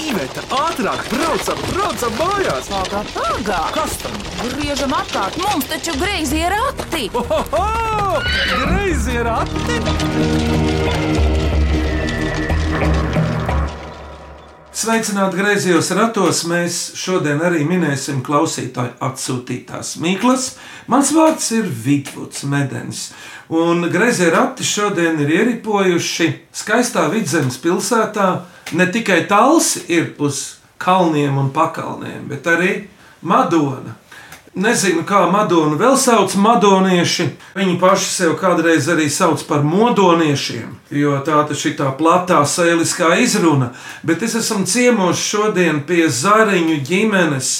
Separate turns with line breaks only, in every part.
Iveta, ātrāk, braucam, braucam mājās!
Pagā, pagā!
Kas tam?
Griežam apkārt, mums taču greizi ir akti!
Ohoho! Greizi ir ati!
Sveicināti griezījos ratos. Mēs šodien arī minēsim klausītāju atsūtītās mīklas. Mans vārds ir Vidvuds Medens. Un griezie rati šodien ir ieripojuši skaistā vidzemes pilsētā. Ne tikai tals ir uz kalniem un pakalniem, bet arī Madona. Nezinu, kā Madonu vēl sauc madonieši. Viņi paši sev kādreiz arī sauc par modoniešiem, jo tā taču ir tā platā sēliskā izruna. Bet es esmu ciemos šodien pie Zariņu ģimenes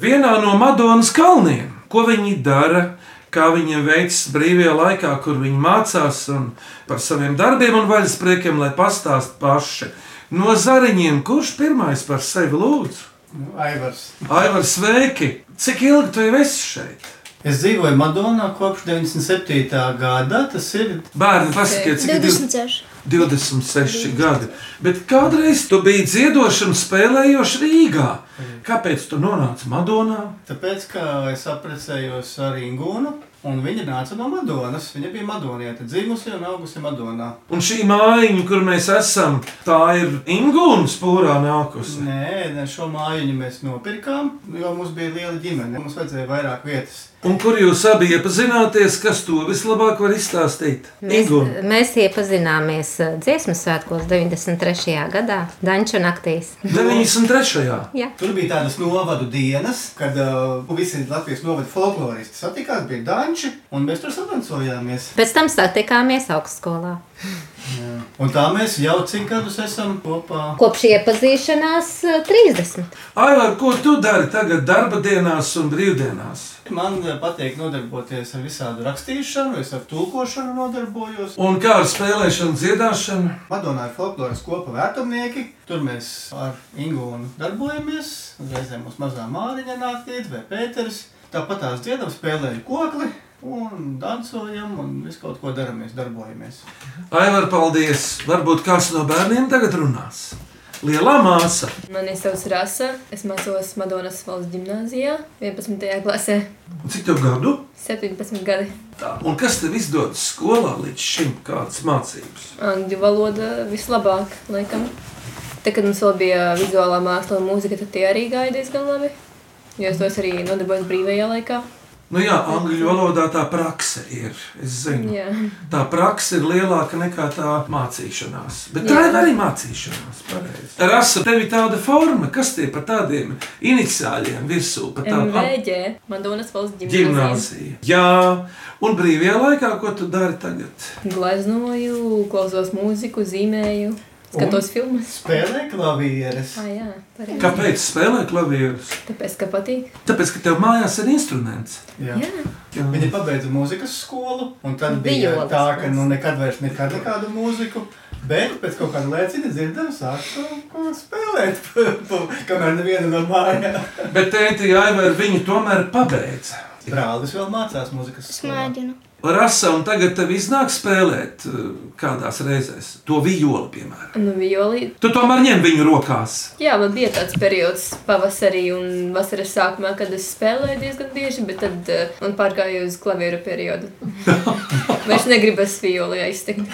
vienā no Madonas kalniem. Ko viņi dara? Kā viņiem veicas brīvajā laikā, kur viņi mācās un par saviem darbiem un vaļaspriekiem, lai pastāst paši. No zariņiem, kurš pirmais par sevi lūdzu?
Nu, Aivars.
Aivar, sveiki! Cik ilgi tu jau esi šeit?
Es dzīvoju Madonā kopš 97. gada. Tas ir
Bērni, pasakiet, cik ir
26.
26 gadi. Bet kādreiz tu biji dziedošs un spēlējošs Rīgā. Kāpēc tu nonāci Madonā?
tāpēc, ka es apprecējos ar Ingūnu, un viņa nāca no Madonas. Viņa bija Madonieta, dzimusi un augusi Madonā.
Un šī mājiņa, kur mēs esam, tā ir Ingūna spūrā nākusi.
Nē, ne, šo mājiņu mēs nopirkām, jo mums bija liela ģimene. Mums vajadzēja vairāk vietas.
Un kur jūs abi iepazināties, kas to vislabāk var izstāstīt?
Mēs,
Ingūna.
mēs iepazināmies eh, dziesmu svētkos 93. gadā, Danču naktīs.
93.
Jā.
Tur bija tādas novadu dienas, kad uh, visi Latvijas novadu folkloristi satikās, bija danči, un mēs tur sadancojāmies.
Pēc tam satikāmies augstskolā.
Un tā mēs jau cik gadus esam kopā.
Kopš iepazīšanās eh, 30.
Aivar, ko tu dari tagad darba dienās un brīvdienās?
Man eh, patīk nodarboties ar visādu rakstīšanu, es ar tulkošanu nodarbojos.
Un kā ar spēlēšanu, dziedāšanu?
Madonā ir folkloras kopa vērtumnieki. Tur mēs ar Ingūnu darbojamies. Reizēm mums mazā māriņa nāk līdzi vai Pēters. Tāpat tās dziedam spēlēju kokli un dancojam un visu kaut ko daramies, darbojamies.
Aivar, paldies! Varbūt kāds no bērniem tagad runās. Lielā māsa.
Mani sauc Rasa. Es mācos Madonas valsts gimnājā, 11. klasē,
Un Cik tev gadu?
17 gadi.
Tā. Un kas tev izdodas skolā līdz šim? Kādas mācības?
Angļu valoda vislabāk, laikam. Tad, kad mums vēl bija vizuālā māksla un mūzika, tad tie arī gāja diezgan labi. Jo es tos arī nodarbojos brīvajā laikā.
Nu jā, angļu valodā tā prakse ir. Es zinu,
Jā.
tā prakse ir lielāka nekā tā mācīšanās. Bet jā. tā ir arī mācīšanās. Pareizi. Rasa, tev ir tāda forma, kas tie par tādiem iniciāļiem virsū, pa tādu
MVG, Madonas valsts gimnājā.
gimnāziju. Jā, un brīvajā laikā, ko tu dari tagad?
Glaznoju, klausos mūziku, zīmēju, skatos filmas.
Spēlē klavieres.
Ah, jā, tā arī.
Kāpēc spēlē klavierus?
Tāpēc, ka patīk.
Tāpēc, ka tev mājās ir instruments.
Jā.
Jā.
Jā.
Viņa pabeidza mūzikas skolu, un tad bija
Violas,
tā, ka
mēs.
nu, nekad vairs nekad nekādu mūziku. Bet pēc kaut kāda lēciena dzirdam, sāk kaut ko spēlēt, kamēr neviena no mājām.
Bet tēti Aivēr viņa tomēr pabeidza.
Brālis vēl mācās mūzikas
Es
skolā.
mēģinu.
Rasa, un tagad tev iznāk spēlēt uh, kādās reizēs to vijoli, piemēram.
Nu, violī
Tu tomēr ņem viņu rokās.
Jā, man bija tāds periods pavasarī un vasaras sākumā, kad es spēlēju diezgan bieži, bet tad eh, man pārgāja uz klavieru periodu. Vairs negribas violi aiztikt.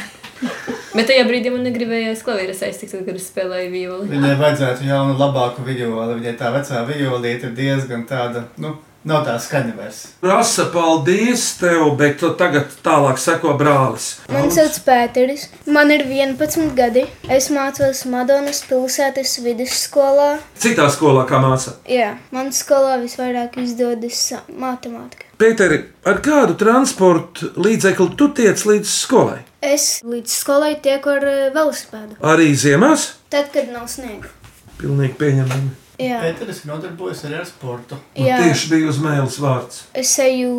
Bet tajā brīdī man negribējās klavieres aiztikt, tad, kad es spēlēju violi.
Viņai vajadzētu jaunu, labāku violi. Viņai tā vecā violīte ir diezgan tāda, nu, nav tā skaņa vairs.
Rasa, paldies tev, bet tu tagad tālāk seko brālis.
Man sauc Pēteris, man ir 11 gadi. Es mācos Madonas pilsētas vidusskolā.
Citā skolā kā māsa.
Jā, man skolā visvairāk izdodas matemātika.
Pēteri, ar kādu transportu līdzekli tu tiec līdz skolai?
Es līdz skolai tieku ar eh, velosipēdu.
Arī ziemās?
Tad, kad nav sniega.
Pilnīgi pieņemami.
Jā,
Pēteris nodarbojas arī ar sportu.
Un
jā.
nu tieši bija uz mēles vārds.
Es eju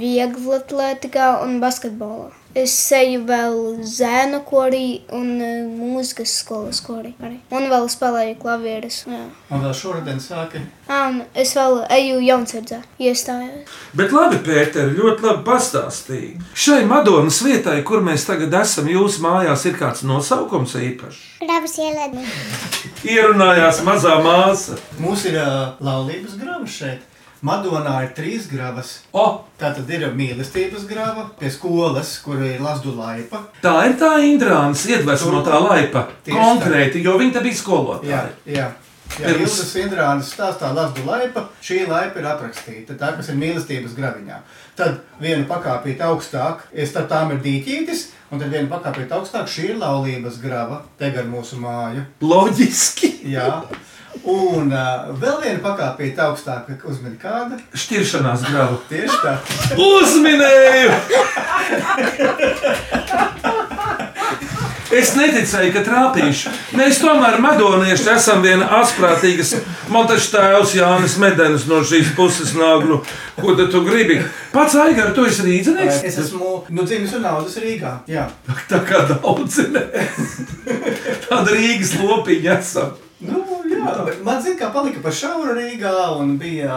vieglatlētikā un basketbolā. Es eju vēl zēnu korī un eh, mūzikas skolas korī arī. Un vēl spēlēju klavierus. Jā.
Un vēl šoruden sāka
Ā, un Um, es vēl eju jaunsardzē iestājos.
Bet labi, Pēter, ļoti labi pastāstīja. Šai Madonas vietai, kur mēs tagad esam, jūsu mājās ir kāds nosaukums īpašs.
Grabas ielē.
Ierunājās mazā māsa.
Mums ir ā, laulības grava šeit. Madonā ir trīs gravas.
O,
Tā tad ir mīlestības grava pie skolas, kur ir Lazdu laipa.
tā ir tā Indrānas iedvesmotā laipa.
Tieši tā.
Konkrēti, jo viņa te bija
Jā,
skolotāja.
jā. Jā,
Pirms-
Ilgas Indrānas stāstā Lazdu laipa. Šī laipa ir aprakstīta, tā kas ir mīlestības graviņā. Tad vienu pakāpīt augstāk, ja starp tām ir dīķītis, un tad vienu pakāpīt augstāk, šī ir laulības grava, te gar mūsu māju.
Loģiski.
Jā. Un uh, vēl viena pakāpīt augstāk, uzmanīgi kāda.
Šķiršanās grava.
Tieši tā.
Uzminēju! Es neticēju, ka trāpīšu. Mēs tomēr madonieši esam viena asprātīgas monētas tēvs, Jānis Medenis no šīs puses nāk. Nu, ko tad tu gribi? Pats Aigar, tu esi rīznieks?
Es esmu nu, dzimis un audzis Rīgā. Jā,
Tā kā daudzi ne. Tāda Rīgas lopiņa esam.
nu, jā. bet man zina, kā palika par šauru Rīgā. un Bija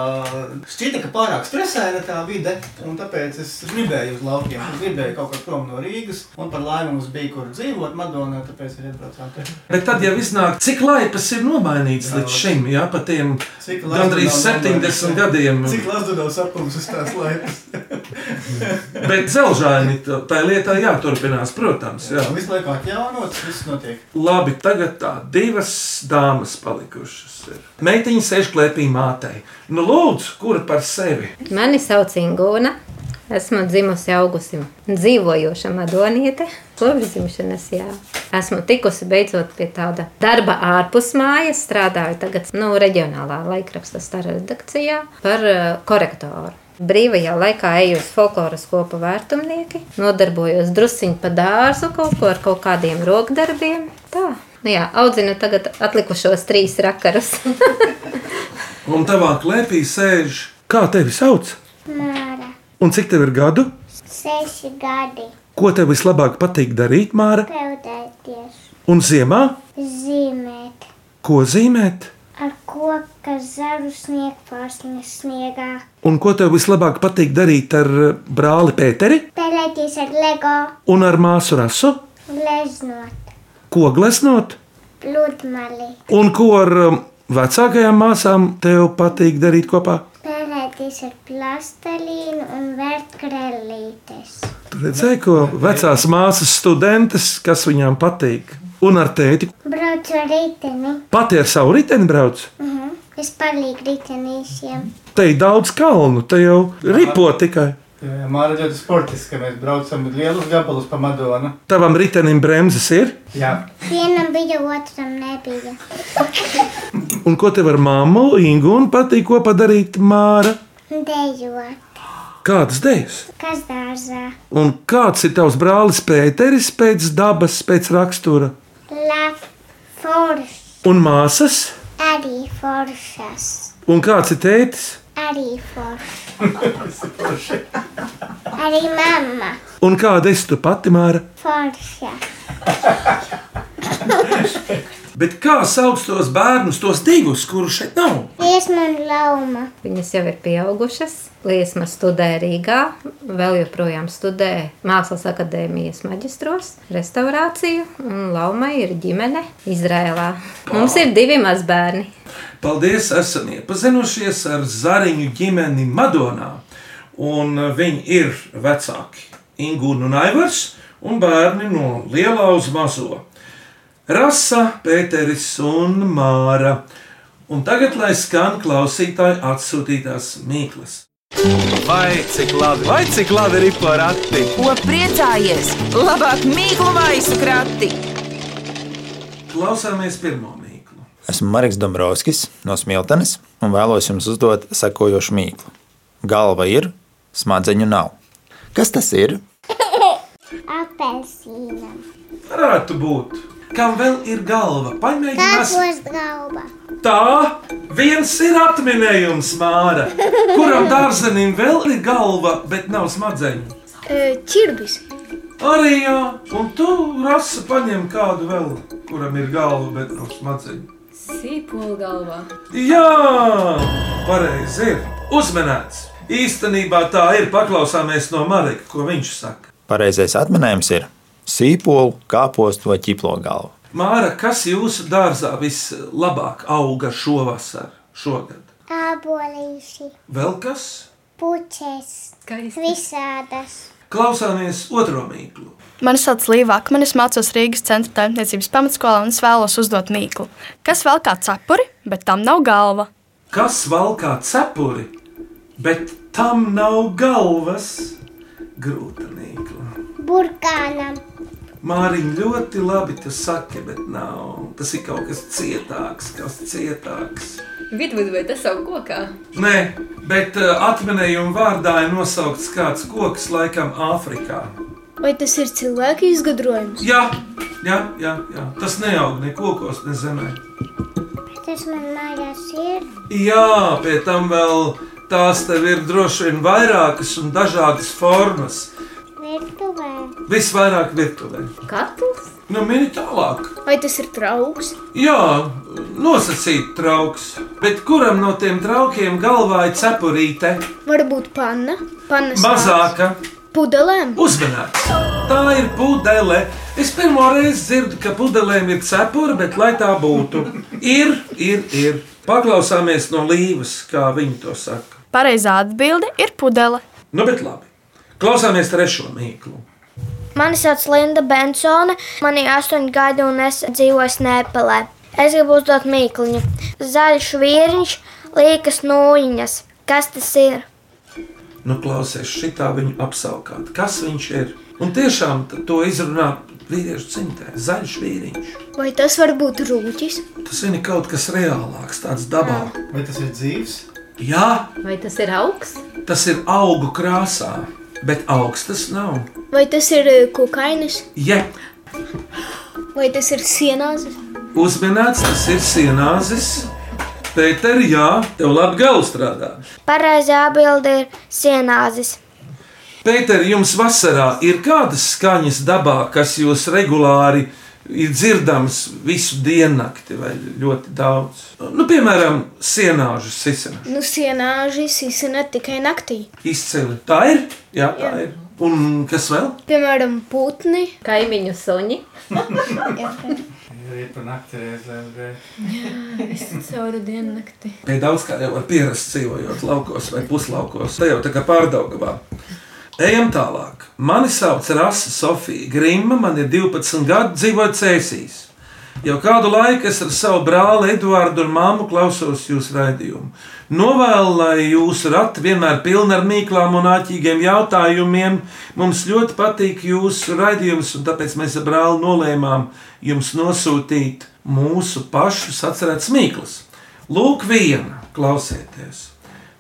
šķita, ka pārāk stresaina tā vide. un Tāpēc es gribēju uz laukiem, es gribēju kaut kur prom no Rīgas. Un par laimi mums bija kur dzīvot Madonā, tāpēc arī atbraucām. te.
Bet tad jau iznāk, cik laipas ir nomainīts līdz šim, jā, pat tiem
Cik Lazdu
gandrīz
nav
70
nomainīts?
gadiem.
Cik lasu daudz sapūs uz tās laikas?
Bet zelžāini t- tai lietā jāturpinās, protams. Jā.
Visu laiku atjaunot, viss notiek.
Labi, tagad tā divas dāmas palikušas. Ir. Meitiņa sēž klēpī mātei. Nu, lūdzu, kura par sevi?
Mani sauc Ingūna. Esmu dzimusi augusim, dzīvojoša Madoniete. Kopš dzimšanas, jā. Esmu tikusi beidzot pie tāda darba ārpus mājas. Strādāju tagad nu, reģionālā laikraksta starā redakcijā par uh, korektoru. Brīvajā laikā eju uz folkloras kopu vērtumnieki, nodarbojos drusciņu pa dārzu kaut ko ar kaut kādiem rokdarbiem. Tā, nu jā, audzinu tagad atlikušos trīs rakarus.
Un tavā klēpī sēž. Kā tevi sauc?
Māra.
Un cik tev ir gadu?
Seši gadi.
Ko tev vislabāk patīk darīt, Māra?
Peldēties.
Un ziemā?
Zīmēt.
Ko zīmēt?
Ar koku zaru sniegu pārsniegs sniegā.
Un ko tev vislabāk patīk darīt ar eh, brāli Pēteri
Pelēties ar lego.
un ar māsu rasu?
Leznot.
Ko gleznot?
Pludmali.
Un ko ar um, vecākajām māsām tev patīk darīt kopā?
Pelēties ar plastelīnu un vērt krellītes.
Tu redzēji, ko vecās māsas studentes, kas viņām patīk. Un ar tēti
Braucu ar riteni.
pati ar savu riteni brauc.
Uh
Mhm.
-huh. Es palīgu ritenīšiem.
Te ir daudz kalnu, te jau ripo tikai.
Jā, jā, Māra ļoti sportiski, ka mēs braucam lielus gabalus pa Madonu.
Tavam ritenim bremzes ir.
Jā.
Vienam bija, otram nebija.
Un ko tev ar māmu Ingu un patīk kopā darīt māra?
Dejot.
Kādas dēļas?
Kas dārzā?
Un kāds ir tavs brālis Pēteris pēc dabas, pēc rakstura?
Laf, forš,
Un māsas?
arī foršas,
Un kāds ir tētis?
arī foršas. arī mamma,
Un kāda esi tu pati māra?
forša,
Bet kā sauc tos bērnus, tos divus, kurus šeit nav?
dziesma un lauma.
Viņas jau ir pieaugušas. Liesma studē Rīgā, vēl joprojām studē Mākslas akadēmijas maģistros, restaurāciju, un Lauma ir ģimene Izrēlā. Mums ir divi mazbērni.
Paldies, esam iepazinušies ar Zariņu ģimeni Madonā. Un eh, viņi ir vecāki Ingūna un Aivars un bērni no lielā uz mazo. Rasa, Pēteris un Māra. Un tagad, lai skan klausītāji atsūtītās mīklas.
Vai cik labi, vai cik labi ir porati?
Ko priecājies? Labāk mīklu maisu krati!
Klausāmies pirmo mīklu.
Esmu Marks Dombrovskis no Smiltenes un vēlos jums uzdot sekojošu mīklu. Galva ir, smadzeņu nav. Kas tas ir?
Apelsīnam,
Varētu būt. Kam vēl ir galva? Paņemsim!
kāpos galva,
Tā viens ir atminējums, Māra, kuram dārzenim vēl ir galva, bet nav smadzeņu.
Čirbis.
Arī jā, un tu rasi paņem kādu vēl, kuram ir galva, bet nav smadzeņu.
Sīpola galvā.
Jā, pareizi ir. Uzmanīts! Īstenībā tā ir. Paklausāmies no Marika, ko viņš saka.
Pareizais atminējums ir sīpolu, kāpostu vai ķiplo galvu.
Māra, kas jūsu dārzā vislabāk auga šovasar, šogad?
Ābolīši,
Vēl kas?
puķes,
Skaisti.
visādas.
Klausāmies otro mīklu.
Mani sauc Līva Akmenis, mācos Rīgas centra taimniecības pamatskolā un es vēlos uzdot mīklu. Kas vēl kā cepuri, bet tam nav galva?
Kas valkā cepuri, bet tam nav galvas? Grūta mīkla.
Burkānam,
Māriņ ļoti labi tu saki, bet nav. Tas ir kaut kas cietāks, kas cietāks.
Vidvud vai tas savu kokā?
Nē, bet uh, atminējuma vārdā ir nosaukts kāds koks, laikam Āfrikā.
Vai tas ir cilvēka izgudrojums?
Jā, jā, jā, jā. tas neaug ne kokos, ne zemē.
tas man mājās ir.
Jā, pie tam vēl tās tev ir droši vien vairākas un dažādas formas.
Virtuvē,
Visvairāk virtuvē.
Katls?
Nu, mini tālāk.
Vai tas ir trauks?
Jā, nosacīt trauks. Bet kuram no tiem traukiem galvā ir cepurīte?
Varbūt panna, pannas nāks.
Mazāka.
pudelēm.
Uzmanīgs! Tā ir pudele. Es pirmo reizi dzirdu, ka pudelēm ir cepura, bet lai tā būtu, ir, ir, ir. Paklausāmies no līvas, kā viņi to saka.
Pareizā atbilde ir pudele.
Nu, bet labi. Klausāmies trešo mīklu.
Mani sauc Linda Bensone, man ir astoņi gadi un es dzīvoju Nēpelē. Es gribu uzdot mīkluņu. Zaļš vīriņš, līkas nūjiņas. Kas tas ir?
Nu, klausies, šitā viņu apsaukāt. Kas viņš ir? Un tiešām t- to izrunā vīriešu cimtē, zaļš vīriņš.
Vai tas var būt rūķis?
Tas ir kaut kas reālāks, tāds dabā.
Vai tas ir dzīves?
Jā,
Vai tas ir augs?
tas ir augu krāsā, bet augstas nav.
Vai tas ir eh, kukainis?
Jep,
Vai tas ir sienāzis?
uzmanīts, tas ir sienāzis. Pēter, jā, tev labi gala strādā.
Pareizā atbilde ir sienāzis.
Pēter, jums vasarā ir kādas skaņas dabā, kas jūs regulāri ir dzirdamas visu diennakti vai ļoti daudz? Nu, piemēram, sienāžu sisena.
Nu, sienāžis izsina tikai naktī.
Izcili. Tā ir. Jā, tā jā. ir. Un kas vēl?
Piemēram, putni.
Kaimiņu suņi?
Ir pa nakti reizē. bet-
Cauri dienu nakti.
Pie daudz kā jau var pierast dzīvojot laukos vai puslaukos. Te jau tā kā pārdaugavā. Ejam tālāk. Mani sauc Rasa Sofija Grima, man ir 12 gadi, dzīvoju Cēsīs. Jau kādu laiku es ar savu brāli Eduardu un māmu klausos jūsu raidījumu. Novēlu, lai jūsu rati vienmēr pilni ar mīklām un āķīgiem jautājumiem. Mums ļoti patīk jūsu raidījums, un tāpēc mēs ar brāli nolēmām jums nosūtīt mūsu pašu sacerētas mīklas. Lūk, viena klausieties!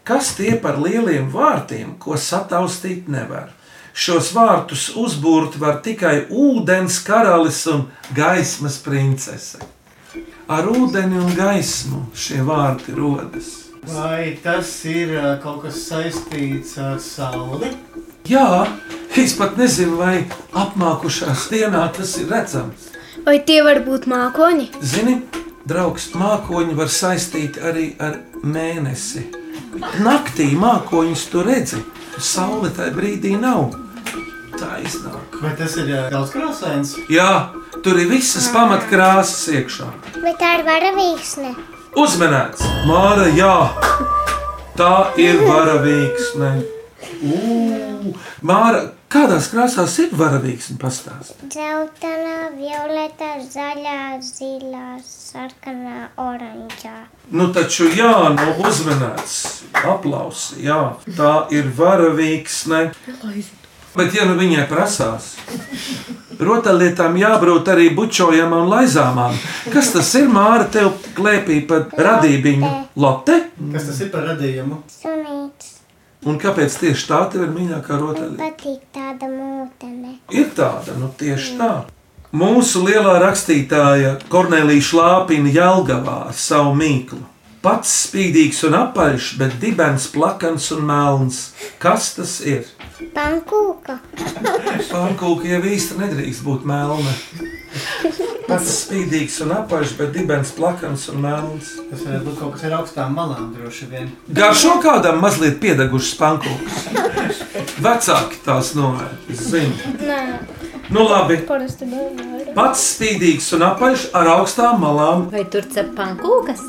Kas tie par lieliem vārtiem, ko sataustīt nevar? Šos vārtus uzbūrt var tikai ūdens karalis un gaismas princese. Ar ūdeni un gaismu šie vārti rodas.
Vai tas ir ā, kaut kas saistīts ar sauli?
Jā, es pat nezinu, vai apmākušās dienā tas ir redzams.
Vai tie var būt mākoņi?
Zini, draugs, mākoņi var saistīt arī ar mēnesi. Naktī mākoņus tu redzi, saule tajā brīdī nav. Tā iznāk.
Vai tas ir ā, daudz krāsains?
Jā, tur ir visas pamatkrāsas iekšā.
Bet tā ir varavīksne.
Uzmanīts, Māra, jā, tā ir varavīksne. Ū, Māra, kādās krāsās ir varavīksne? Pastāsti.
Dzeltenā, violetā, zaļā, zilā, sarkanā, oranžā.
Nu, taču, jā, no uzmanīts, aplausi, jā, tā ir varavīksne. Bet, ja nu viņai prasās, rotaļlietām jābrūt arī bučojamām un laizāmām. Kas tas ir, Māra, tev klēpī par radībiņu? Lotte?
Kas tas ir par radījumu?
Sunīts,
Un kāpēc tieši tā tev ir mīļākā rotaļa?
patīk tāda mūtene.
Ir tāda, nu tieši tā. Mūsu lielā rakstītāja Kornelija Šlāpina Jelgavā ar savu mīklu. Pats spīdīgs un apaļš, bet dibens plakans un melns. Kas tas ir?
Pankūka.
Pankūka jau īsti nedrīkst būt melna. Tas ir spīdīgs un apaļš, bet dibens plakans un melns.
Tas varētu būt kaut kas ar augstām malām droši vien.
Garšo kādam mazliet piedegušas pankūkas. Vecāki tās novērt, es zinu.
Nē,
Nu labi,
parasti bērni.
pats spīdīgs un apaļš ar augstām malām.
Vai tur cep pankūkas?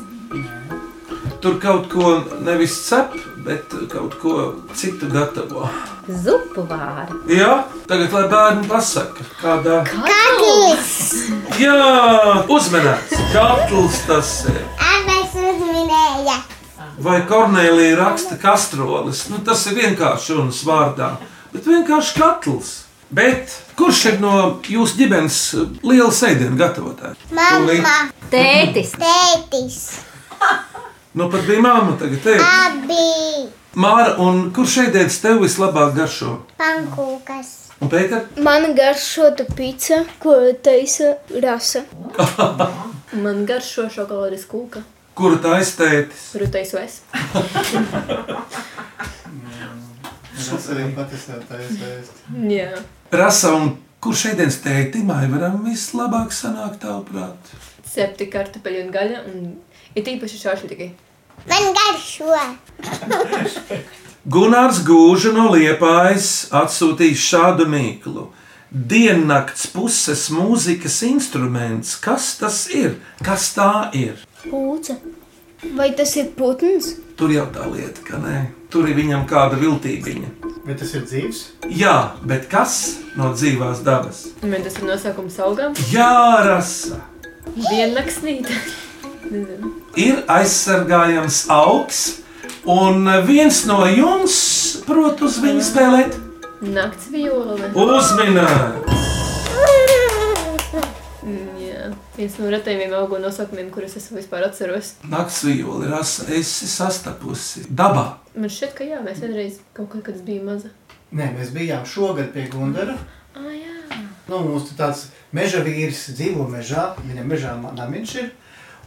Tur kaut ko nevis cep, bet kaut ko citu gatavo.
Zupu vāri.
Jā, tagad lai bērni pasaka, kādā.
Kakis!
Jā, uzmanīts, katls tas ir.
Abas uzminēja.
Vai Kornelija raksta kastroles? Nu, tas ir vienkārši runas vārdā, bet vienkārši katls. Bet kurš ir no jūsu ģimenes eh, liela sēdiņa gatavotāja?
Mamma,
Tētis.
tētis,
Nu, pat bija māma, tagad te ir.
abi
Māra, un kurš ēdienas tev vislabāk garšo?
pankūkas.
Un Pēter,
Man garšo tā pizza, ko taisa rasa.
Man garšo šokolādes kūka,
kuru tā aiztētis?
kuru taisu es.
Tas arī patiesībā ir.
Jā.
Rasa, un kurš ēdienas tētimai varam vislabāk sanākt tavuprāt?
Septi kartupeļi un gaļa un it īpaši šāšļi.
Man garšo.
Gunārs Gūža no Liepājas atsūtīs šādu mīklu. Diennakts puses mūzikas instruments. Kas tas ir? Kas tā ir?
Pūce. Vai tas ir putns?
Tur jau tā lieta, ka nē, tur ir viņam kāda viltība.
Bet tas ir dzīves.
Jā, bet kas no dzīvās dabas?
Man tas ir nosaukums augām.
Jā, rasa!
Diennaksnīte.
Ir aizsargājams augs, un viens no jums prot uz viņu spēlēt
Nakts viole.
uzmanību.
Mm, Jā. Viens no retajiem augu nosaukumiem, kurus es vispār atceros.
Nakts vijoli, rasa, esi sastapusi dabā.
Man šķiet, ka jā, mēs vienreiz kaut kad, kad es biju maza.
Nē, mēs bijām šogad pie Gundara.
Ah, jā.
Nu, mums tur tāds meža vīrs dzīvo mežā, viņam mežā ma- namiņš ir,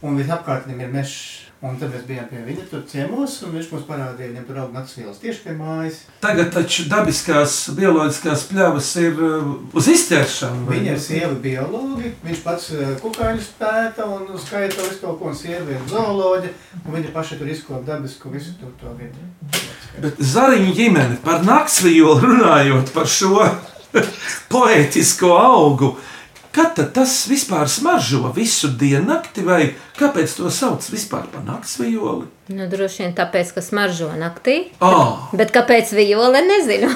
un visapkārt viņam ir mežs. Un tad mēs bijām pie viņa tur ciemos, un viņš mums parādīja, viņam tur aug nacionāls tieši pie mājas.
Tagad taču dabiskās bioloģiskās pļavas ir uh, uz izķeršanu. vai
Viņa ir
ne?
sieva biologi, viņš pats eh, kukaiņus pēta un skaita visu kaut ko, un sieva ir zooloģi, un viņa paša tur izkopa dabisku visu tur to vietu.
Bet zariņu ģimene par naktsvijolu runājot par šo poētisko augu. Kad tad tas vispār smaržo visu diennakti, vai kāpēc to sauc vispār par naktsvijoli?
Nu, droši vien tāpēc, ka smaržo naktī.
Ah,
Bet kāpēc vijole? Nezinu.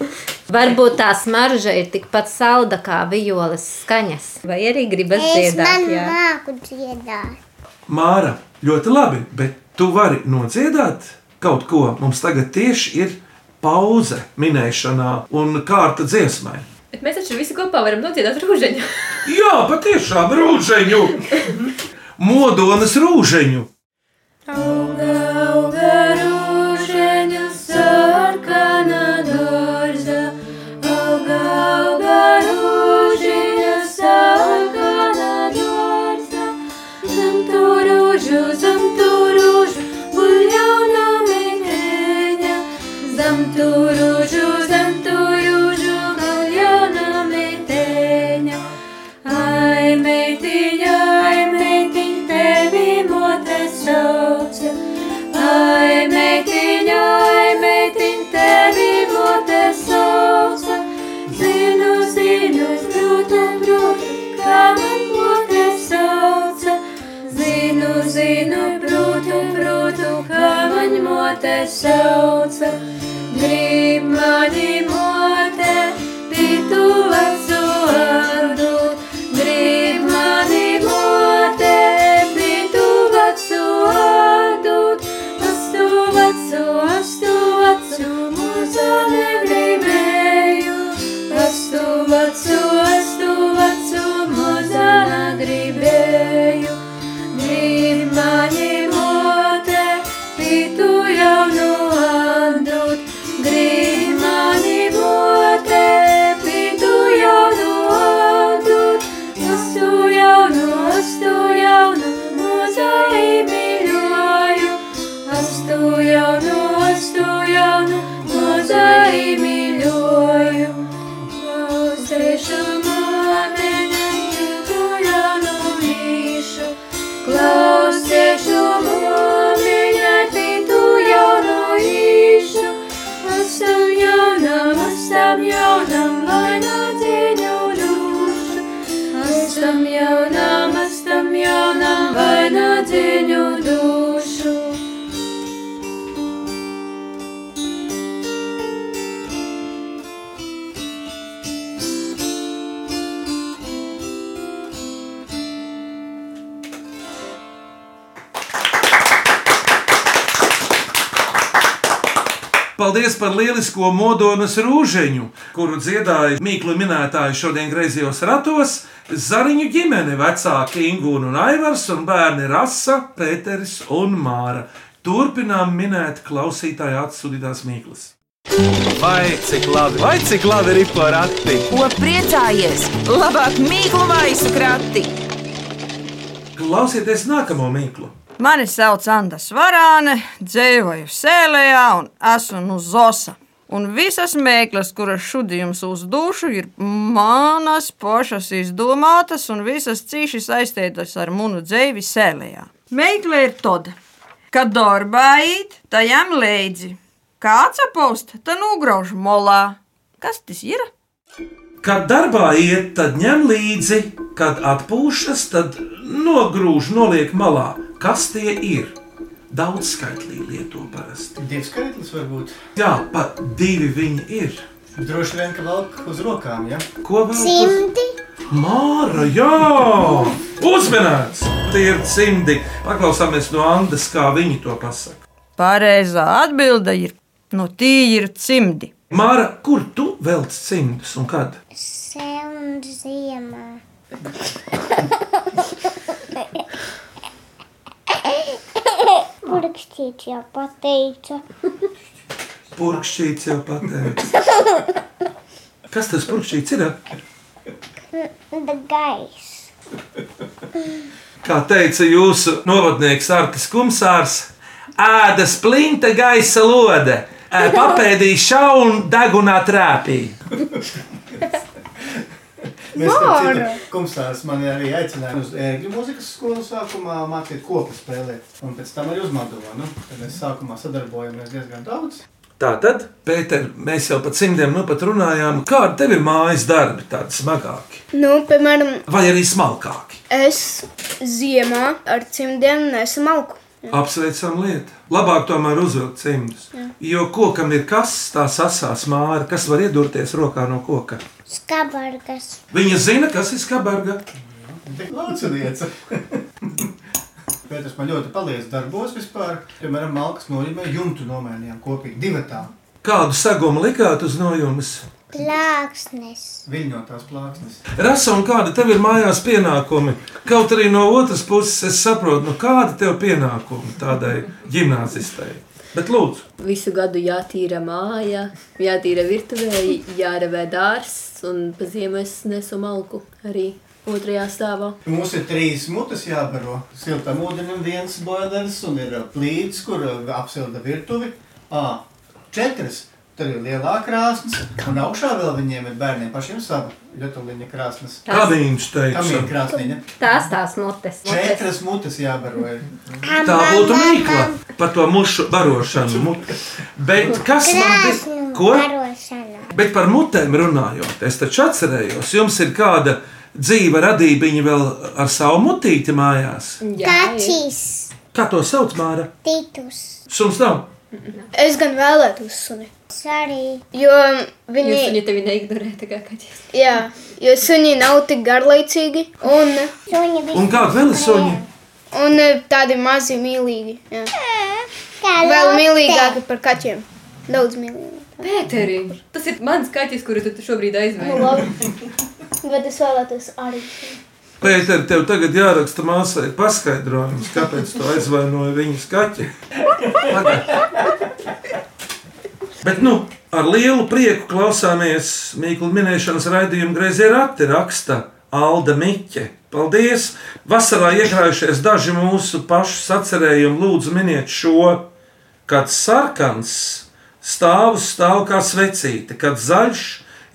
Varbūt tā smarža ir tikpat salda kā vijoles skaņas. Vai arī gribas
Es
dziedāt?
man
Jā,
māku dziedāt.
Māra, ļoti labi, bet tu vari nodziedāt kaut ko. Mums tagad tieši ir pauze minēšanā un kārta dziesmai.
Bet mēs taču visi kopā varam nodziedāt rūžaņu.
Jā, patiešām rūsēņu, modonas rūsēņu.
Gribu mani
Paldies par lielisko modonas rūžeņu, kuru dziedāja Mīklu minētāji šodien griezījos ratos. Zariņu ģimene, vecāki Ingūna un Aivars un bērni Rasa, Pēteris un Māra. Turpinām minēt klausītāju atsūtītās mīklas.
Vai cik labi, vai cik labi ir porakti?
Ko priecājies? Labāk mīklu maisu krati!
Klausieties nākamo mīklu!
Mani sauc Anna Svarāne, dzīvoju Sēlējā un esmu no Zosa. Un visas mēklas, kuras šodien jums uzdošu, ir manas pašas izdomātas un visas cīši saistītas ar munu dzīvi Sēlējā. Mēkle ir tāda, ka darbā īt, tajam līdzi. Kāds apaust, tad nograuž molā. Kas tas ir?
Kad darbā iet, tad ņem līdzi, kad atpūšas, tad nogrūž, noliek malā. Kas tie ir? Daudz skaitlī lieto parasti.
Dievskaitlis varbūt.
Jā, pat divi viņi ir.
Droši vien, ka valk uz rokām, ja?
Ko vēl? uz-
Simti,
Māra, jā! Uzmanīts! Tie ir cimdi. Paklausāmies no Andas, kā viņi to pasaka.
Pareizā atbilde ir: no tie ir cimdi.
Māra, kur tu velc cimdus un kad?
sev ziemā. Burkšķīt jau pateicu.
Purkšķīts jau pateicis. Kas tas purkšķīts ir?
Gais.
Kā teica jūsu novadnieks Artis Kumsārs, ēda splinta gaisa lode, ē, papēdīja šaunu degunā trāpī.
Mēs tam citam kumstārs man arī aicināja uz ērgļu mūzikas skolu sākumā mācīt kopu spēlēt. Un pēc tam arī uz Madonu. Tad mēs sākumā sadarbojamies diezgan daudz.
Tā tad, Pēter, mēs jau par cimdiem nu pat runājām, kādi tev ir mājas darbi, tādi smagāki
Nu, piemēram,
vai arī smalkāki.
es ziemā ar cimdiem nesu malku.
Apsveicam lietu. Labāk tomēr uzvilkt cimdus. Jā. Jo kokam ir kas, tā sasās māra, kas var iedurties rokā no koka.
Skabargas.
Viņa zina, kas ir skabarga.
Lūdzu, Bet tas man ļoti palīdz darbos vispār. Piemēram, malkas noņemē jumtu nomainījām kopīgi divatā.
Kādu sagumu likāt uz nojumes?
Plāksnes.
Viļņotās plāksnes.
Rasa, un kāda tev ir mājās pienākumi? Kaut arī no otras puses es saprotu, nu kāda tev pienākumi tādai gimnāzistai. Bet lūdzu,
Visu gadu jātīra māja, jātīra virtuvē, jārevē dārsts un pa ziemu es nesu malku arī otrajā stāvā.
Mums ir trīs mutes jābaro. Siltam ūdenim viens boilers un ir uh, plīts, kur uh, apsilda virtuvi. À, četras. Tur ir lielā krāsnes, un augšā vēl viņiem ir bērniem pašiem sava ļotuliņa krāsnes.
kā viņš teica?
Kamīna krāsniņa.
Tās tās mutes. mutes.
Četras mutes jābaro. ir.
Tā būtu mīkla par to mušu barošanu. mute. Bet kas man bija?
Krāsņu
Ko?
barošana.
Bet par mutēm runājot, es taču atcerējos, jums ir kāda dzīva radība vēl ar savu mutīti mājās.
ir.
Kačīs.
Kā to sauc, Māra?
Titus.
Suns nav.
Es gan vēlētos suni,
Sorry.
jo
Jūs
viņi,
viņu tevi neignorē, tā kā kaķis.
jā, jo suni nav tik garlaicīgi un,
Suņi bija.
Un kāda vēl ir suņi?
un tādi mazi mīlīgi. Jā.
Kā
Vēl
lote.
mīlīgāki par kaķiem. Daudz mīlīgāk.
Pēteri, tas ir mans kaķis, kuru tu šobrīd aizvēri.
Bet es vēlētos arī.
Pēter, tev tagad jāraksta māsai paskaidrojums, kāpēc tu aizvainoji viņas kaķi. Pagaid. Bet, nu, ar lielu prieku klausāmies Mīklu minēšanas raidījuma grazē rati raksta Alda Miķe. Paldies! Vasarā iekrājušies daži mūsu pašu sacerējumi. Lūdzu, miniet šo, kad sarkans stāv uz stāv kā svecīte, kad zaļš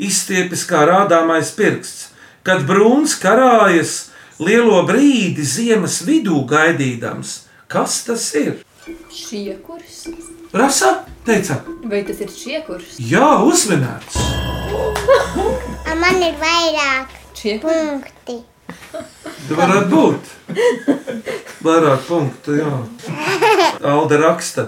izstiepjas kā rādāmais pirksts, kad brūns karājas lielo brīdi ziemas vidū gaidīdams. Kas tas ir?
Šiekurs?
Rasa teica,
Vai tas ir šiekurs?
jā, uzmanīts.
A, Man ir vairāk
Šiekurs?
punkti.
Tu varētu būt. Vairāk punktu, jā. Alde raksta,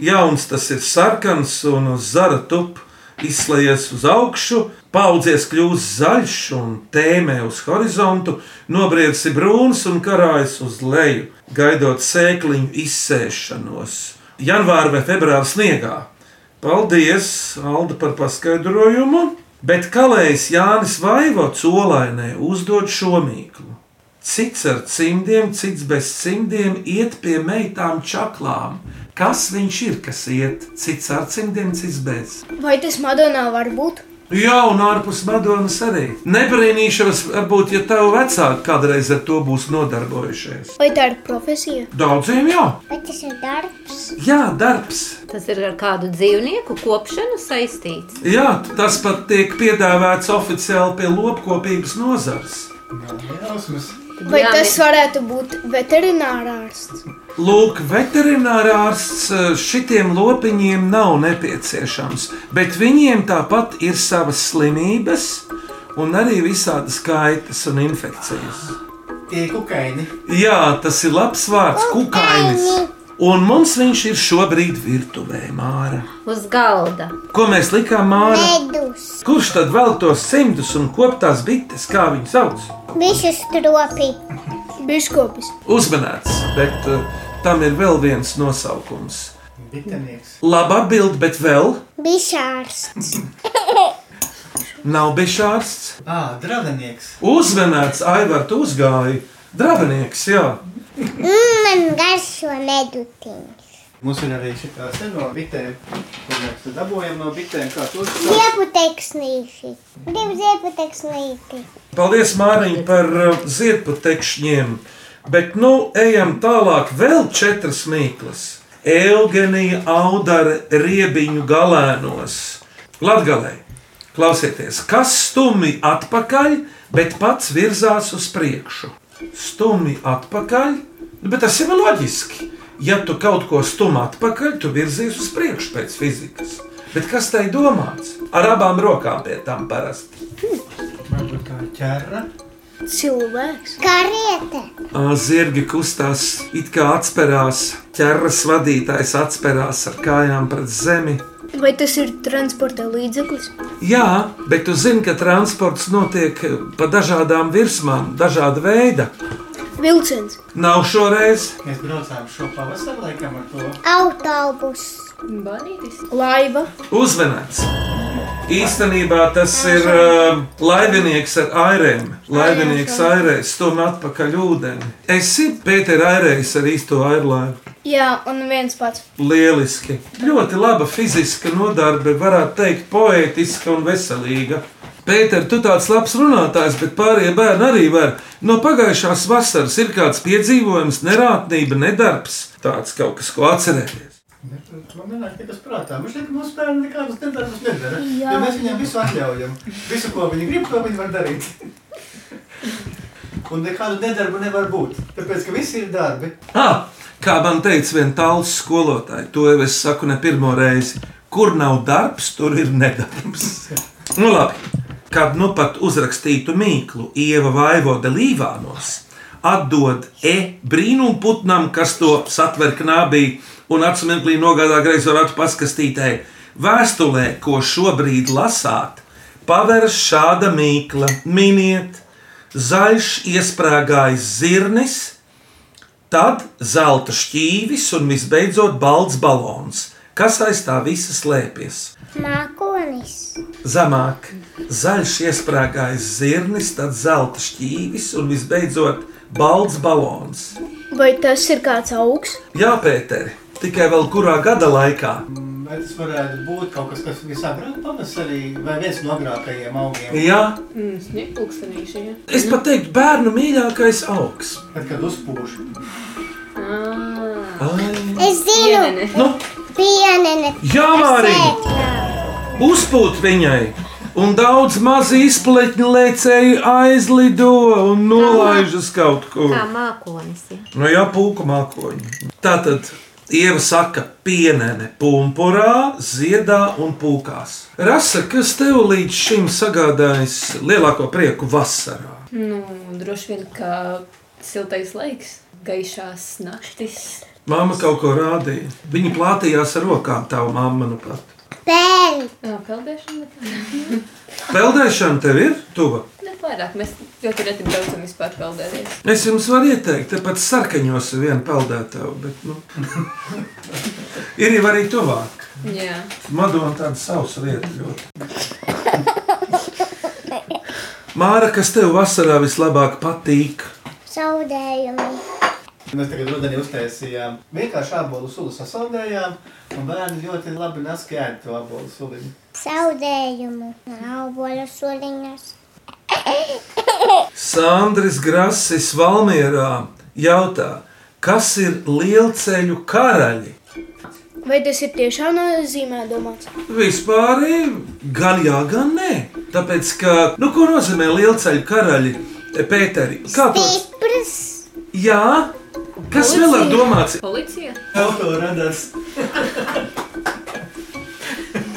jauns tas ir sarkans un uz zara tup, izslēdzies uz augšu, paudzies kļūst zaļš un tēmē uz horizontu, nobriedzi brūns un karājas uz leju, gaidot sēkliņu izsēšanos janvāra vai februāra sniegā. Paldies, Alda, par paskaidrojumu. Bet kalējs Jānis Vaivots olainē uzdod šo mīklu. Cits ar cimdiem, cits bez cimdiem iet pie meitām čaklām. Kas viņš ir, kas iet? Cits ar cimdiem, cits bez.
Vai tas Madonā var būt?
Jā, un ārpus Madonas arī. Nebrīnīšos, varbūt, ja tev vecāki kādreiz ar to būs nodarbojušies.
Vai tā ir profesija?
Daudziem jau.
Vai tas ir darbs?
Jā, darbs.
Tas ir ar kādu dzīvnieku kopšanu saistīts.
Jā, tas pat tiek piedāvāts oficiāli pie lopkopības nozars.
Jausmas.
Vai tas varētu būt veterinārārsts?
Lūk, veterinārārsts eh, šitiem lopiņiem nav nepieciešams, bet viņiem tāpat ir savas slimības un arī visādas kaitas un infekcijas.
Tie kukaini.
Jā, tas ir labs vārds, kukainis. Un mums viņš ir šobrīd virtuvē, Māra.
Uz galda.
Ko mēs likām Māra?
Medus.
Kurš tad vēl tos simtus un koptās bites, kā viņas sauc?
Visu stropi.
Biškopis.
Uzmanīts, bet uh, tam ir vēl viens nosaukums.
Bitenieks.
Labi atbild, bet vēl
Bišārsts.
nav bijis ārsts.
Ā, dravenieks.
Uzmanīts, Aivar, tu uzgāji. Dravinieks, jā.
Mm, man garšo medutiņš.
Mums ir arī šī tā seno bitēm, ko mēs te dabūjam no bitēm, kā tur
Zieputeksnīši. Divi zieputeksnīši.
Paldies, Māriņ, par uh, ziedputekšņiem. Bet nu ejam tālāk, vēl četras mīklas. Eugenija audara riebiņu galēnos. Latgalē, klausieties, kas stumi atpakaļ, bet pats virzās uz priekšu. Stumi atpakaļ, nu, bet tas jau ir loģiski. Ja tu kaut ko stumi atpakaļ, tu virzies uz priekšu pēc fizikas. Bet kas tai domāts? Ar abām rokām pie tām parasti.
Varbūt kā ķērra.
Cilvēks.
Kariete.
Zirgi kustās, it kā atspērās, ķeras vadītājs atspērās ar kājām pret zemi.
Vai tas ir transporta līdzeklis?
Jā, bet tu zini, ka transports notiek pa dažādām virsmām, dažāda veida.
Vilciens.
Nav šoreiz,
Mēs braucām šo pavasaru laikam ar to.
Autobus.
Banītis.
Laiva.
uzmanīts. Īstenībā tas ir uh, laivinieks ar airēm. Laivinieks airēs stumj atpakaļ ūdeni. Esi Pētera airējis ar īsto airlaivu.
Jā, un viens pats.
Lieliski. Ļoti laba fiziska nodarbe, varētu teikt, poētiska un veselīga. Pēter, tu tāds labs runātājs, bet pārējie bērni arī var. No pagājušās vasaras ir kāds piedzīvojums, nerātnība, nedarbs. Tāds kaut kas, ko atcerēties.
Bet Man nenāk nekas prātā. Viņš liek mums bērni nekādus nedarbus nedara. Jo mēs viņiem visu atļaujam. Visu, ko viņi grib, to viņi var darīt. Un nekādu nedarbu nevar būt. Tāpēc, ka visi ir darbi.
Ah, kā man teica viena tāls skolotāja, to jau es saku ne pirmo reizi. Kur nav darbs, tur ir nedarbs. Nu, labi. Kad nu pat uzrakstītu mīklu, Ieva Vaivoda Līvānos atdod e brīnumputnam, kas to satver knābī un atsimenklī nogādā greizo ratu paskastītē. Vēstulē, ko šobrīd lasāt, paveras šāda mīkla. Miniet, zaļš iesprāgājis zirnis, Tad zelta šķīvis un visbeidzot balts balons, kas aiz tā visa slēpjas.
Mākonis.
Zemāk, zaļš iesprāgājis zirnis, tad zelta šķīvis un visbeidzot balts balons.
Vai tas ir kāds augs?
Jā, Pēteri, tikai vēl kurā gada laikā?
Vai tas varētu būt kaut kas, kas visāgrāk pavasarī, vai viens no agrākajiem augiem?
Jā,
Mm, Sniegpūkstenīši, jā.
es pat teiktu, bērnu mīļākais augs.
Tad, kad uzpūš.
Ai.
Es zinu,
Pienene.
Nu,
pienene.
jā, Mārija! uzpūt viņai. Un daudz mazu izpletņu lēcēju aizlido un nolaižas kaut kur.
Kā mākonis. Ja.
Nu, jā, puika mākoņi. Tā tad ieva saka, pienene, pumpurā, ziedā un pūkās. Rasa, kas tev līdz šim sagādājis lielāko prieku vasarā?
Nu, droši vien, ka siltais laiks, gaišās naktis.
Māma kaut ko rādīja. Viņa nu plātījās ar rokām, tā māma, manuprāt.
Pēļ.
Ā, Peldēšana.
Peldēšana tev ir tuva.
Ne pārāk, mēs ļoti reti braucam vispār peldēties.
Es jums varu ieteikt, tepat sarkaņos ir viena peldētāja, bet nu, ir jau arī tuvāk.
Jā.
Madona tāda sausa vieta ļoti. Māra, kas tev vasarā vislabāk patīk?
Zaudējumi.
Mēs tagad rudenī uztaisījām vienkārši abolu sulu sasaldējām, un bērni ļoti labi neskaidro to abolu suliņu.
Zaudējumi. Nav boļu soliņas.
Sandrija Grasis Valmjerā jautā, kas ir lielceļu karaļi?
Vai tas ir tiešām nozīmē domāts?
Vispār gan jā, gan nē. Tāpēc, ka, nu, ko nozīmē lielceļu karaļi? Pēteri, kā tu?
Stiprs.
Jā, kas vēl ir domāts?
Policija?
Autoradars.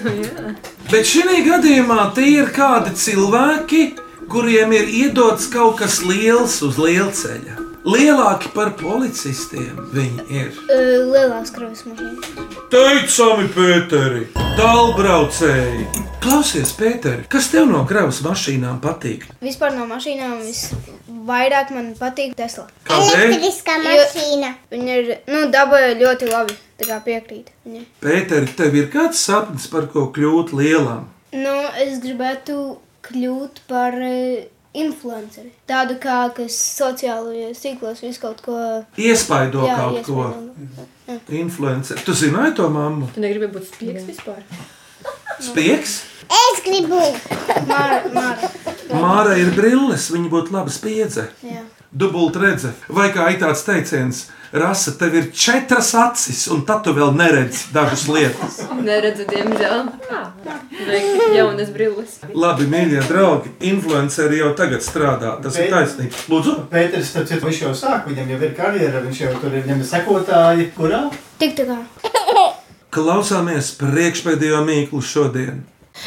Nu, jā.
Bet šī gadījumā tie ir kādi cilvēki, kuriem ir iedots kaut kas liels uz lielceļa. Lielāki par policistiem viņi ir.
Lielās kravas mašīnas.
Teicami, Pēteri, tālbraucēji! Klausies, Pēteri, kas tev no kravas mašīnām patīk?
Vispār no mašīnām visvairāk man patīk Tesla.
Kādēļ?
mašīna. Viņa ir nu, dabūja ļoti labi. Tā kā piekrīt. Viņa.
Pēteri, tev ir kāds sapnis par ko kļūt lielam?
Nu, es gribētu kļūt par eh, influenceri. Tādu kā, kas sociālajos tīklos visu kaut ko
Iespaido
Jā,
kaut ko.
Jā.
Influencer. Tu zināji to mammu?
Tu negribi būt spiegs vispār?
Spiegs?
Es gribu.
Māra, māra.
Māra ir brilles, viņa būtu laba spiedze.
Jā.
Dubult redze, vai kā ir tāds teiciens, rasa, tev ir četras acis, un tad tu vēl neredzi dažas lietas.
Neredzu, diemžēl. Vajag jaunas brilles.
Labi, mīļie draugi, influenceri jau tagad strādā. Tas ir taisnība. Lūdzu,
Pēters, starp citu, viņš jau sāk, viņam jau ir karjera, viņš jau tur ir, viņam ir sekotāji. Kurā?
Tik tā kā.
klausāmies priekšpēdējo mīklu šodien.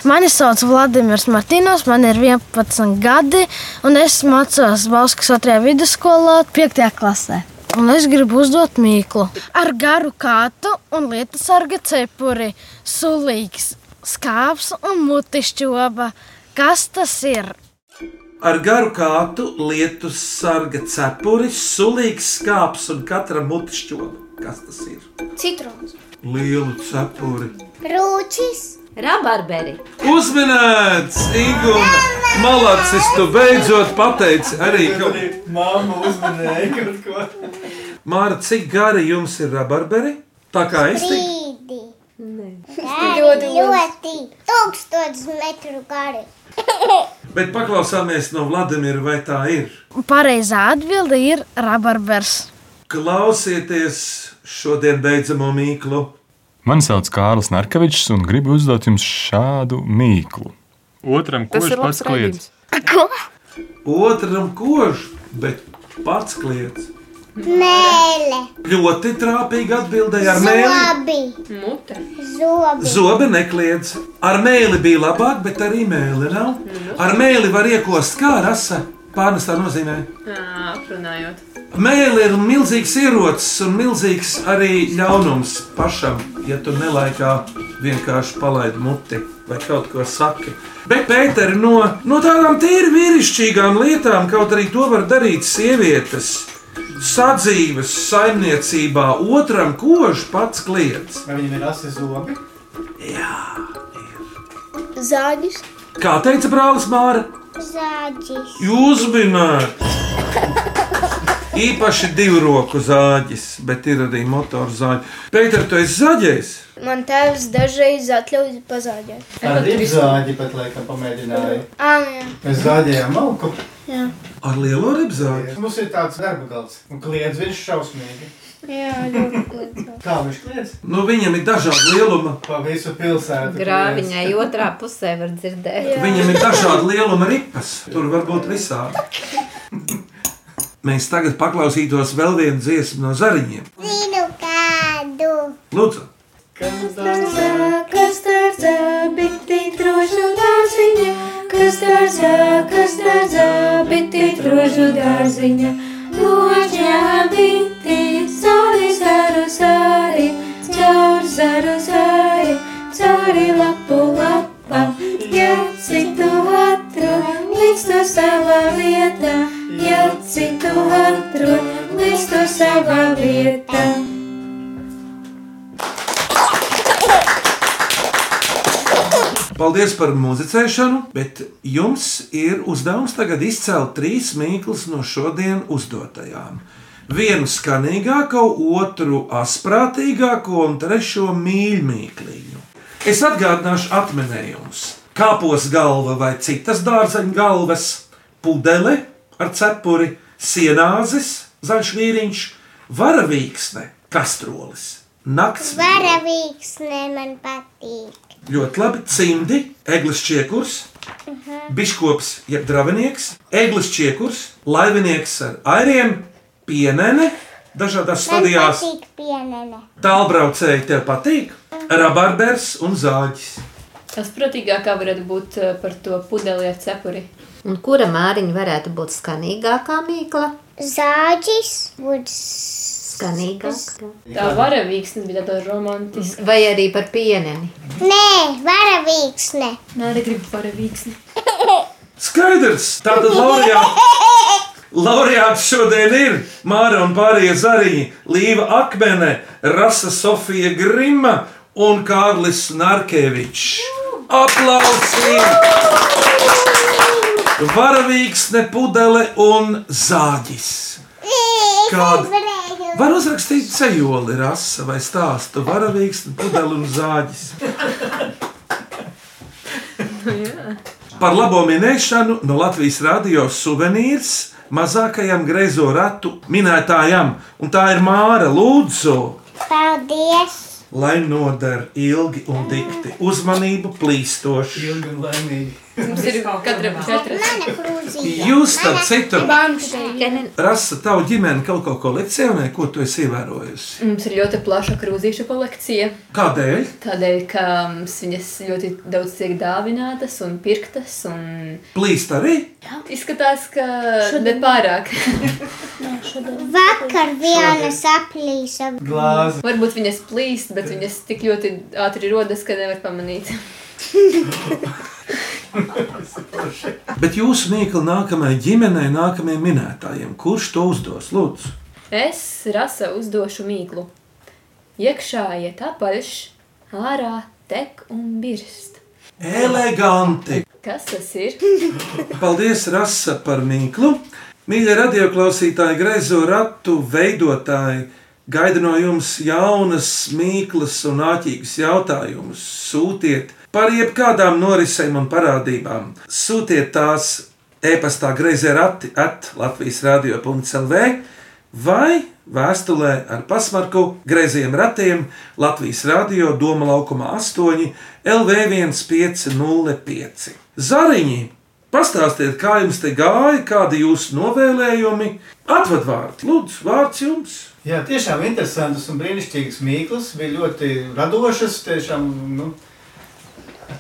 Mani sauc Vladimirs Martīnos, man ir 11 gadi, un es mācos Valskas otrajā vidusskolā, 5. klasē. Un es gribu uzdot mīklu. Ar garu kātu un lietu sarga cepuri, sulīgs, skāps un mutišķoba. Kas tas ir?
Ar garu kātu, lietu sarga cepuri, sulīgs skāps un katra mutišķoba. Kas tas ir?
Citrons.
Lielu cepuri.
Rūčis.
Rabarberi.
Uzminēts, Ingūna! Malacis, tu beidzot pateici arī, ka
Māma uzmanēja kaut ko.
Māra, cik gari jums ir rabarberi? Tā kā es tiku.
Brīdi.
Ļoti
Ļoti,
liels.
ļoti tūkstotis metru gari.
Bet paklausāmies no Vladimira, vai tā ir.
Pareizā atbilde ir rabarbers.
Klausieties šodien beidzamo mīklu.
Mani sauc Kārlis Narkevičs, un gribu uzdot jums šādu mīklu. Otram
Tas
kurš
ir labs
pats kliedz?
Ko?
Otram kož, bet pats kliedz.
Mēle.
Ļoti trāpīgi atbildēja ar mēli.
Zobi.
Mute.
Zobi.
Zobe nekliedz. Ar mēli bija labāk, bet arī mēli nav.
Mhm.
Ar mēli var iekost kā rasa. Pārnes tā nozīmē.
Ā, Aprunājot.
Mēle ir milzīgs ierocis un milzīgs arī ļaunums pašam, ja tu nelaikā vienkārši palaidi muti vai kaut ko saki. Bet, Pēter, no, no tādām tīri vīrišķīgām lietām, kaut arī to var darīt sievietes, sadzīves saimniecībā, otram kož pats kliedz.
Vai viņam ir asi zobi?
Zāģis.
Kā teica brālis Māra,
Zāģis.
jūs zināt! Īpaši divu roku zāģis, bet ir arī motoru zāģis. Pēter, tu esi zaļais!
Man tēvs dažreiz atļauj pazāģēt.
Ar ripsāģi pat laikam pamēģināja.
Ā, nu jā.
Mēs zāģējām malku.
Jā.
Ar lielo ripsāģi.
Mums ir tāds darba galds, un kliedz viņš šausmīgi.
Jā, ļoti.
Kā viņš kliedz?
Nu, viņam ir dažādi lieluma.
Pa visu pilsētu.
Grāviņai otrā pusē var dzirdēt.
Viņam ir dažādi lieluma ripas. Tur var būt visādi. Mēs tagad paklausītos vēl vienu dziesmu no zariņiem.
Zinu kādu.
Lūdzu,
Kas dārza, bet tītrošu dārziņa, kas dārza, kas dārza, bet tītrošu dārziņa. Ložņā binti, sori, zaru, sori, caur zaru, sori, cauri lapu lapam, jācitu
Paldies par muzicēšanu, bet jums ir uzdevums tagad izcelt trīs mīklas no šodien uzdotajām. Vienu skanīgāko, otru asprātīgāko un trešo mīļāko. Es atgādināšu atminējumus. Kāpos galva vai citas dārzeņu galvas, pudele ar cepuri, sienāzes, zaļš vīriņš, varavīksne, kastrolis, nakts.
Varavīksne man patīk.
Ļoti labi. Cimdi, eglis čiekurs, biškops, jeb dravinieks, eglis čiekurs, laivinieks ar airiem, pienene dažādās
Man
stadijās.
patīk pienene.
Tālbraucēji tev patīk, rabarbers un zāģis.
Tas protīgākā varētu būt eh, par to pudeli ar cepuri.
Un kura māriņa varētu būt skanīgākā mīkla?
Zāģis būtu
Skanīgākā.
Tā varavīksne bija tāda romantiska.
Vai arī par pieneni?
Nē, varavīksne.
Mm. Nē, arī gribu varavīksni.
Skaidrs, tātad laureāts. Laureāts šodien ir Māra un Pārija Zariņa, Līva Akmene, Rasa Sofija Grima un Kārlis Narkevičs. Aplausīsim! Varavīksne, pudele un zāģis. Kāda? Var uzrakstīt sejoli, rasa vai stāstu. Varavīksne, pudele un zāģis. Par labo minēšanu no Latvijas radio suvenīrs mazākajam greizo ratu minētājam, un tā ir Māra Lūdzu.
Paldies!
Lai noder ilgi un dikti, uzmanību plīstoši. Ilgi un laimīgi.
Mums ir katram četras.
Jūs starp citu,
Bankšķi.
Rasa, tavu ģimeni kaut ko kolekcionē, ko tu esi ievērojusi?
Mums ir ļoti plaša krūzīšu kolekcija.
Kādēļ?
Tādēļ, ka mums viņas ļoti daudz tiek dāvinātas un pirktas. Un...
Plīst arī?
Izskatās, ka ne pārāk.
Vakar viena saplīsa.
Glāzi.
Varbūt viņas plīst, bet viņas tik ļoti ātri rodas, ka nevar pamanīt.
Bet jūsu mīkla nākamajai ģimenei, nākamajiem minētājiem, kurš to uzdos? Lūdzu,
Es rasa uzdošu mīklu. Iekšā iet apaļš, ārā tek un birst.
eleganti!
Kas tas ir?
Paldies, Rasa, par mīklu. Mīļie radioklausītāji, greizo ratu veidotāji, gaida no jums jaunas, mīklas un āķīgas jautājumus. Sūtiet par jebkādām norisēm un parādībām. Sūtiet tās e-pastā greizē rati at Latvijas radio.clv vai vēstulē ar pasmarku greiziem ratiem Latvijas radio Doma laukumā 8 LV1505. Zariņi! Pastāstiet, kā jums te gāja, kādi jūsu novēlējumi, atvadvārdi, lūdzu, vārds jums.
Jā, tiešām interesantas un brīnišķīgas mīklas. Bija ļoti radošas, tiešām nu,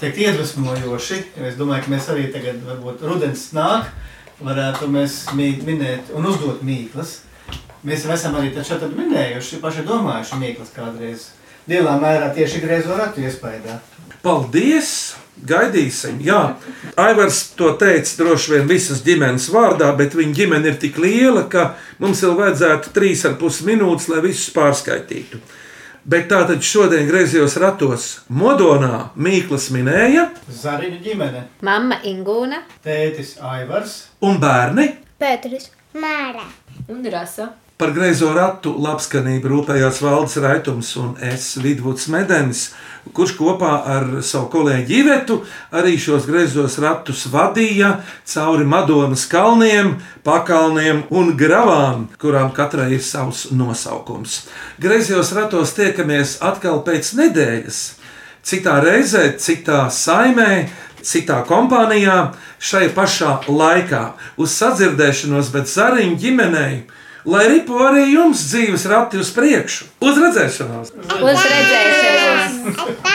teikt, iedvesmojoši. Es domāju, ka mēs arī tagad, varbūt rudens nāk, varētu mēs mī- minēt un uzdot mīklas. Mēs jau esam arī taču tad minējuši, paši domājuši mīklas kādreiz. Lielā mērā tieši griezo ratu iespējā.
Paldies! Gaidīsim, jā. Aivars to teica droši vien visas ģimenes vārdā, bet viņa ģimene ir tik liela, ka mums vēl vajadzētu trīs ar pus minūtes, lai visus pārskaitītu. Bet tā tad šodien griezījos ratos Modonā Mīklas minēja
Zariņu ģimene,
Mama Ingūna.
tētis Aivars.
un bērni
Pēteris.
Māra.
Un rasa.
Par greizo ratu labskanību rūpējās Valdis Raitums un es Vidvuds Medens, kurš kopā ar savu kolēģi Ivetu arī šos greizos ratus vadīja cauri Madonas kalniem, pakalniem un gravām, kurām katrai ir savs nosaukums. Greizajos ratos tiekamies atkal pēc nedēļas citā reizē, citā saimē, citā kompānijā, šai pašā laikā, uz sadzirdēšanos, bet zariņu ģimenei, lai ripo arī jums dzīves rati uz priekšu, uz redzēšanos!
Uz redzēšanos!
Atā!